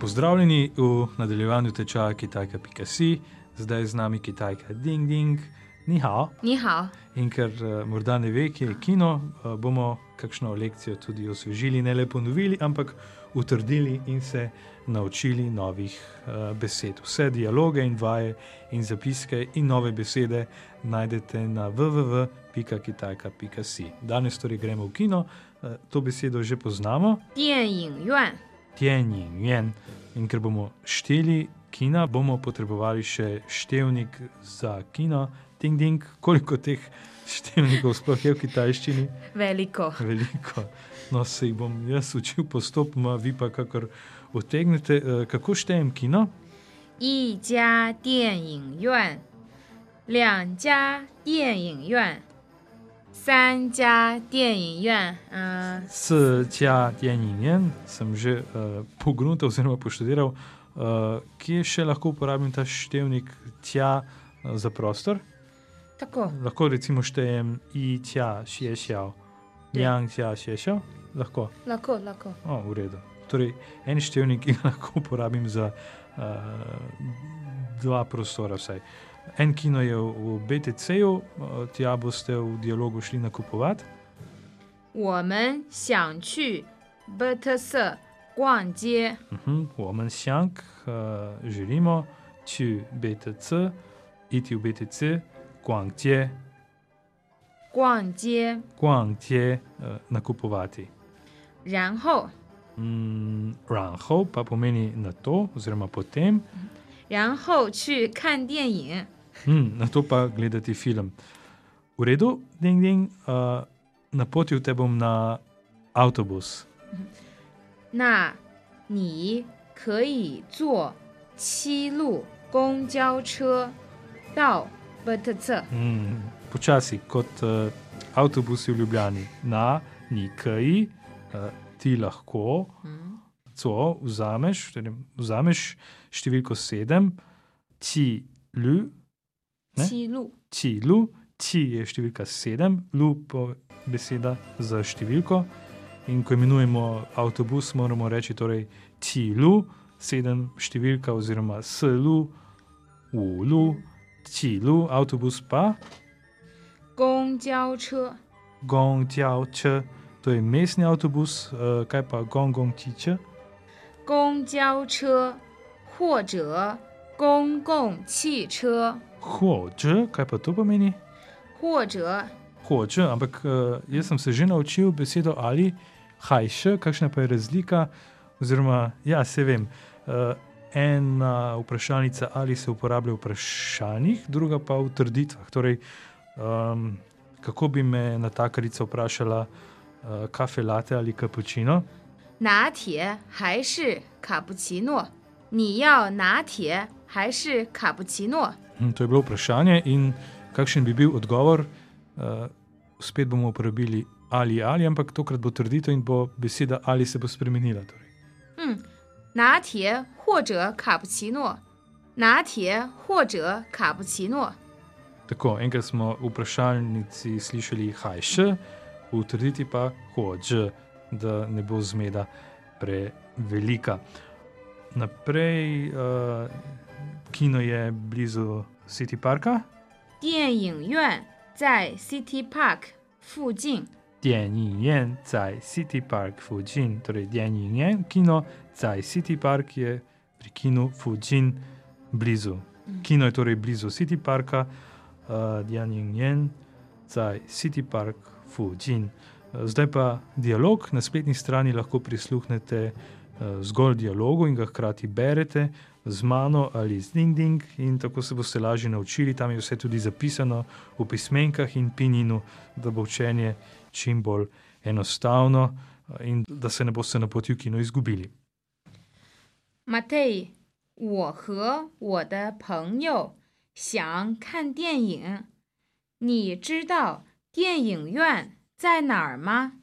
Pozdravljeni v nadaljevanju tečaja Kitajka.si, zdaj je z nami Kitajka Ding Ding, Nihao. 你好， In ker eh, morda ne ve, kje je kino, eh, bomo kakšno lekcijo tudi osvežili, ne le ponovili, ampak utrdili in se naučili novih eh, besed. Vse dialoge in vaje in zapiske in nove besede najdete na www.kitajka.si. Danes torej gremo v kino, eh, to besedo že poznamo, 电影院， tjenjin, jen. In ker bomo šteli kina, bomo potrebovali še števnik za kino, ding ding, koliko teh števnikov sploh je v kitajščini, 维利狗， veliko. No, se jih bom jaz učil postopoma, vi pa kakor utegnete. Eh, Kako štejem kino? 一家电影院，两家电影院，三家电影院，嗯、 S tja tjenjin, sem že uh, pogruntal oziroma poštudiral, uh, kje še lahko uporabim ta števnik tja eh, za prostor. tako Lahko recimo štejem i tja šešjav, jang tja šešjav, lahko, lahko, lahko. o, v redu. Torej, en števnik, ki ga lahko uporabim za uh, dva prostora vsaj. En kino je v v BTC-ju, eh, tja boste v dialogu šli nakupovati, 我们想去贝特色逛街， uh -huh, v Omenšank uh, želimo, če BTC, iti v BTC, Guangdje, 逛街， Guangdje uh, nakupovati. 然后， Mm, Ranhov pa pomeni na to, oziroma potem, 然后去看电影， hm, na to pa gledati film. V redu, ding ding, uh, napotil te bom na avtobus. 那你可以坐七路公交车到贝特策。 Mm, počasi, kot uh, avtobus v Ljubljani, na Nikaji, uh, ti lahko, co vzameš, torej vzameš številko sedem, ti lju. Ne? 七路， Ci Lu, Ci je številka sedem, Lu pa beseda za številko. In ko imenujemo avtobus, moramo reči torej Ci Lu, sedem številka oziroma S Lu, U Lu, Ci Lu, avtobus pa 公交车， Gong Tiao Č, to je mestni avtobus, eh, kaj pa Gong Gong Ti Č, 公交车或者公共汽车， Huo Č, kaj pa to pomeni? 或者 hoče, ampak eh, jaz sem se že naučil besedo ali haj še, kakšna pa je razlika. Oziroma, ja, se vem. eh, Ena vprašalnica ali se uporablja v vprašanjih, druga pa v trditvah. Torej, um, kako bi me natakarica vprašala, uh, kafe late ali kapučino? 拿铁还是卡布奇诺？你要拿铁还是卡布奇诺？ Hm, To je bilo vprašanje, in kakšen bi bil odgovor? Uh, spet bomo uporabili ali ali, ampak tokrat bo trditev in bo beseda ali se bo spremenila. Torej. 嗯，拿铁或者卡布奇诺，拿铁或者卡布奇诺。 Tako, enkrat smo v vprašalnici slišali hajš, v trditi pa hoč, da ne bo zmeda prevelika. Naprej, uh, kino je blizu City Parka, 电影院在 City Park 附近， Djenjen, Caj City Park, Fujin, torej Djenjen, kino, Caj City Park je pri kinu Fujin blizu. Kino je torej blizu City Parka, uh, Djenjen, Caj City Park, Fujin. Eh, Zdaj pa dialog, na spletni strani lahko prisluhnete eh, zgolj dialogu in ga hkrati berete z mano ali z ding-ding, in tako se boste lažje naučili. Tam je vse tudi zapisano v pismenkah in pininu, da bo učenje čim bolj enostavno eh, in da se ne boste na poti v kino izgubili. 马蒂，我和我的朋友想看电影，你知道电影院在哪儿吗？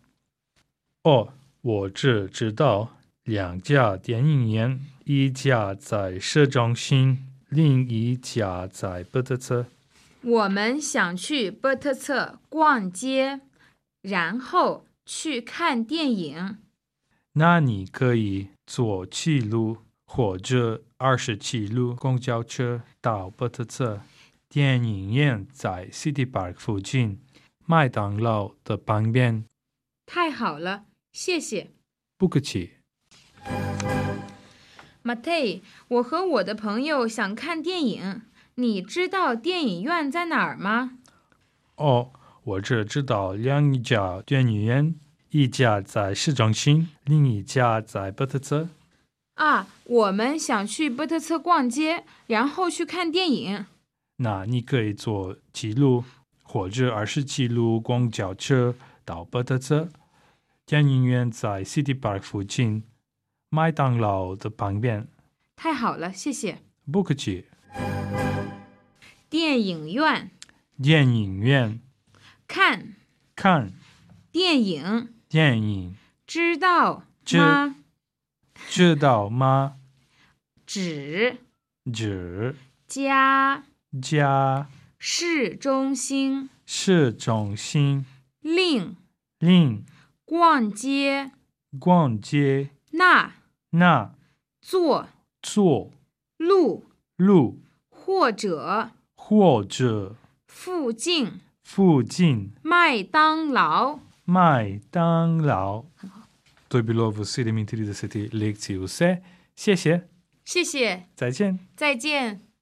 哦，我只知道两家电影院，一家在市中心，另一家在布特车。我们想去波特策逛街，然后去看电影。那你可以坐去路火车二十七路公交车到波特侧，电影院在 City Park 附近，麦当劳的旁边。太好了，谢谢。不客气。 Matei，我和我的朋友想看电影，你知道电影院在哪儿吗？哦，我只知道两家电影院，一家在市中心，另一家在波特侧。啊，我们想去波特侧逛街，然后去看电影。那你可以坐七路或者二十七路公交车到波特侧，电影院在 City Park 附近，麦当劳的旁边。太好了，谢谢。不客气。电影院电影院看看电影，电影，知道知吗？知道吗？指指加加市中心市中心，令令逛街逛街那那坐坐路路或者或者附近附近麦当劳。麦当劳。To je bilo v 37. lekciji vse. Sje, sje, 谢谢， zajčen. 再见。